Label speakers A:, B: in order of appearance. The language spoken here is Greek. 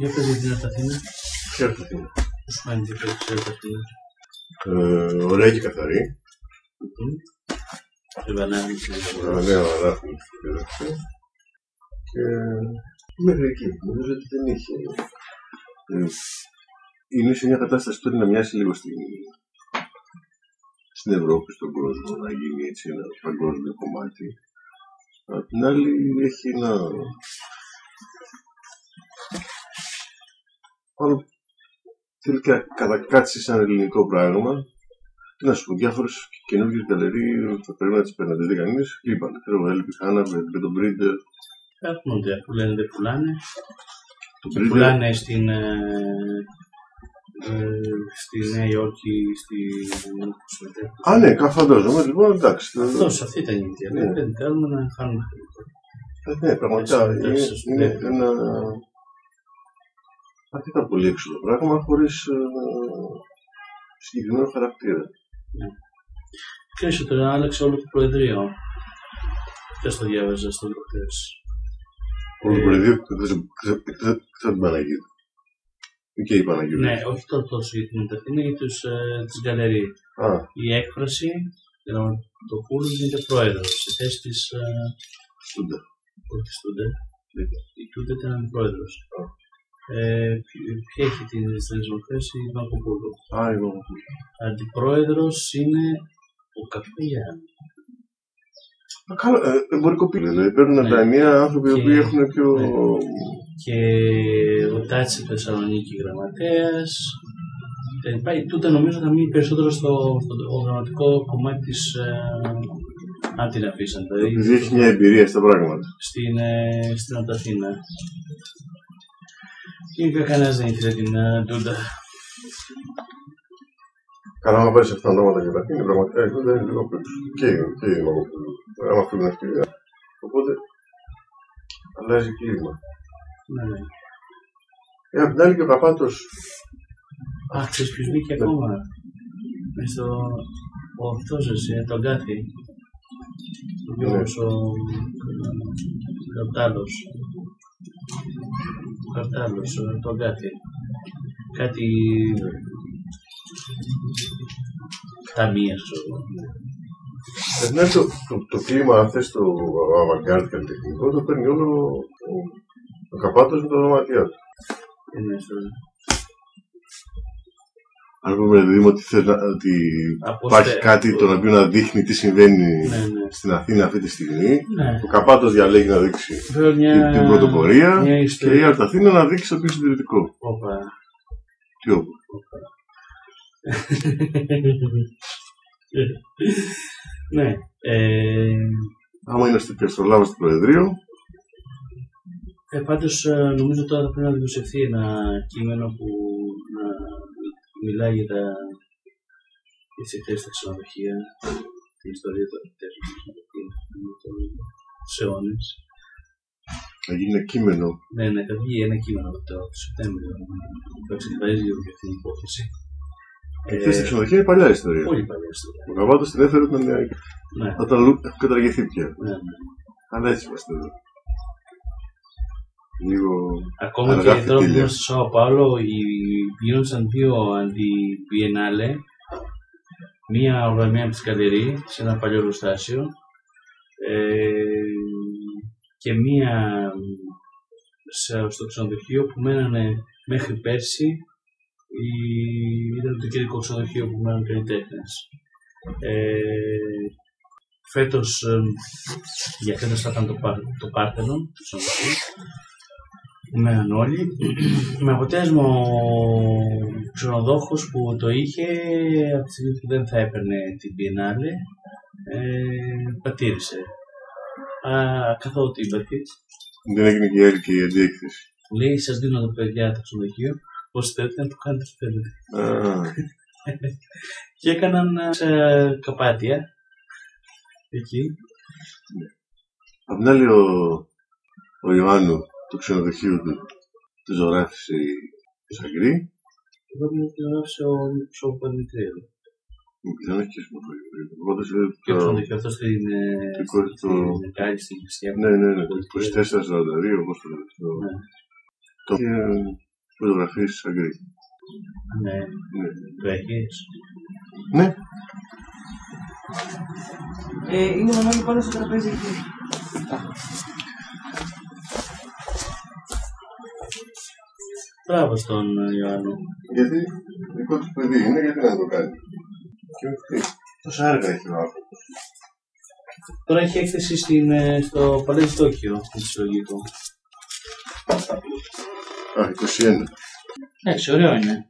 A: Για πες για την Αρταθήνα.
B: Ποια είναι αυτή.
A: Πώς σου φάνηκε το ξέρω Αθήνα.
B: Ε, ωραία και καθαρή.
A: Το βανάρι της
B: Αλλά ναι, αλλά Και μέχρι εκεί. Νομίζω ότι δεν είχε. Ε, είναι σε μια κατάσταση που θέλει να μοιάσει λίγο στην, στην Ευρώπη, στον κόσμο, να γίνει έτσι ένα παγκόσμιο κομμάτι. Απ' την άλλη έχει ένα... Πάνω θέλει και να κατακάτσει σαν ελληνικό πράγμα. Τι να σου πω, διάφορε καινούργιε γκαλερί θα πρέπει να τι παίρνει. Δεν κανεί. Λείπαν. Ξέρω εγώ, έλειπε Χάναβε, με τον Μπρίντερ.
A: Έρχονται, που λένε δεν πουλάνε.
B: Τον
A: Και
B: Μπρίντερ.
A: πουλάνε στην, ε, ε, στη Νέα Υόρκη, στη...
B: Α, ναι, κα- φαντάζομαι. Λοιπόν, εντάξει.
A: Αυτός, αυτή ήταν η αιτία.
B: Ναι.
A: Ναι. Δεν θέλουμε να χάνουμε.
B: Ε, Ναι, πραγματικά
A: Έτσι,
B: είναι,
A: εντάξει,
B: είναι
A: ναι.
B: ένα αρκετά πολύ έξοδο πράγμα χωρίς ε, συγκεκριμένο χαρακτήρα.
A: Ξέρεις ότι τον άλλαξε όλο το Προεδρείο. Ποιος το διάβαζε στον προχθές.
B: Όλο το
A: Ε,
B: Προεδρείο εκτός την Παναγία. Και η Παναγία.
A: Ναι, όχι το τόσο για την Αρταθήνα, για τους, ε, τις γκαλερί.
B: Α,
A: Η έκφραση, ενώ το Πούλου γίνεται πρόεδρος. Στη θέση της ε,
B: στούντα.
A: Όχι Τούντε. Η Τούντε ήταν πρόεδρο. Ε, ποι- ποια έχει την στρατηγική θέση, η Βακοπούλου.
B: Α, εγώ.
A: Αντιπρόεδρο είναι ο Καπέλια.
B: Α, Καλό, ε, εμπορικό πύλη. Δηλαδή παίρνουν
A: Ναι.
B: τα ενία άνθρωποι οι
A: Και-
B: οποίοι έχουν πιο...
A: ναι. Και ο Τάτσι Θεσσαλονίκη γραμματέα. Η Τούντε νομίζω θα μείνει περισσότερο στο, στο το γραμματικό κομμάτι τη. αν την αφήσαν, δηλαδή
B: Επειδή έχει μια εμπειρία στα πράγματα.
A: στην, ε, στην Ανταθήνα. Γενικά κανένα δεν ήθελε την ε, Τούντα.
B: Καλά, άμα πάρεις αυτά τα ονόματα και τα είναι πραγματικά. Ε, δεν είναι λίγο απ' έξω. Και, και η Μαγκοπούλου. Άμα αυτή την ευκαιρία. Οπότε αλλάζει κλίμα.
A: Ναι, ναι.
B: Ε, απ' την άλλη και ο Καπάτος
A: Αχ, ξέρεις ποιος μπήκε ακόμα. Μες στο... Ο αυτός εσύ, ε, τον Κάθη. Ο
B: Ναι.
A: Γιώργος, ο... Καρτάλος. Ο Καρτάλος, ε, τον Κάθη. Κάτι... Ταμεία, ξέρω εγώ.
B: Απ' την άλλη, ε, ναι, το, το, το κλίμα, αν θες το avant-garde καλλιτεχνικό, το παίρνει όλο ο, ο Καπάτος με τα δωμάτια του.
A: Δεν είναι αυτό.
B: Αν πούμε, δηλαδή, ότι, θες να- ότι
A: Από
B: υπάρχει
A: στε-
B: κάτι το οποίο να δείχνει τι συμβαίνει
A: Ναι, ναι.
B: στην Αθήνα αυτή τη στιγμή,
A: Ναι.
B: ο Καπάτος διαλέγει να δείξει
A: Βέβαια μια...
B: την, την πρωτοπορία
A: Μια
B: και η
A: ιστορία.
B: Αρταθήνα να δείξει το πιο συντηρητικό.
A: Όπα.
B: Τι όπου.
A: ναι. Ε,
B: Άμα είναι στην Πιαστολάβα στο Προεδρείο,
A: ε, Πάντω, νομίζω τώρα θα πρέπει να δημοσιευθεί ένα κείμενο που να μιλάει για τα για τις εκτέλεσεις στα ξενοδοχεία, την ιστορία των εκτέλεσεων στα ξενοδοχεία, του αιώνε.
B: να γίνει ένα κείμενο.
A: Ναι, ναι, θα βγει ένα κείμενο από το Σεπτέμβριο που εξετάζει λίγο για αυτή την υπόθεση. Ε,
B: Ε, και στην ξενοδοχεία είναι παλιά ιστορία.
A: Πολύ παλιά ιστορία.
B: Ο Καπάτος την έφερε όταν, ε,
A: Ναι,
B: όταν λου- έχουν καταργηθεί πια.
A: ναι, ναι.
B: Αλλά έτσι είμαστε εδώ. Λίγο
A: Ακόμα
B: Αργά
A: και τώρα που
B: φυτίλια.
A: ήμουν στο Σάο Πάολο, οι- γινόντουσαν δύο αντι-Biennale. Μία οργανωμένη από τη Σκαλερή, σε ένα παλιό εργοστάσιο. Ε, και μία σε- στο ξενοδοχείο που μένανε μέχρι πέρσι. η- ήταν το κεντρικό ξενοδοχείο που μένανε καλλιτέχνε. Ε, φέτος, ε, για φέτος θα ήταν το, Πά- το Πάρθενο, το ξενοδοχείο που μέναν όλοι. με αποτέλεσμα ο ξενοδόχος που το είχε, από τη στιγμή που δεν θα έπαιρνε την Biennale, ε, πατήρησε. Α, καθότι πατήρησε.
B: Δεν έγινε και η άλλη και η αντίεκθεση.
A: Λέει, σας δίνω τα παιδιά το ξενοδοχείο, όσοι θέλετε να το κάνετε ό,τι θέλετε.
B: Α,
A: Και έκαναν ε, σε καπάτια, εκεί.
B: Απ' την άλλη, ο, ο Ιωάννου, το ξενοδοχείο του, του ζωράφησε η η Σαγκρή.
A: Εδώ μου γράψε ο Ψόπου Παντικρίου.
B: Μου πει, δεν έχει και συμμετοχή. Οπότε σε
A: Και το
B: το-
A: ξενοδοχείο αυτό στην ε,
B: Τι
A: στην-
B: κόρη του-
A: στην Κάλη, στην Χριστιανή.
B: Ναι, ναι, ναι.
A: Πολιτική.
B: 24-42, όπως το λέω.
A: Ναι.
B: Το... Και, φωτογραφίε τη Αγκρή.
A: Ναι,
B: Ναι.
A: το έχει.
B: ναι,
C: Ε, είναι μονόλι πάνω στο τραπέζι εκεί.
A: Μπράβο στον ε, Ιωάννη.
B: γιατί δικό του παιδί είναι, γιατί να το κάνει. Και όχι. Τόσα έργα έχει ο άνθρωπο.
A: Τώρα έχει έκθεση στην, ε, στο Παλέζι Τόκιο, στη συλλογή του.
B: Α, 21.
A: Εντάξει, ωραίο είναι.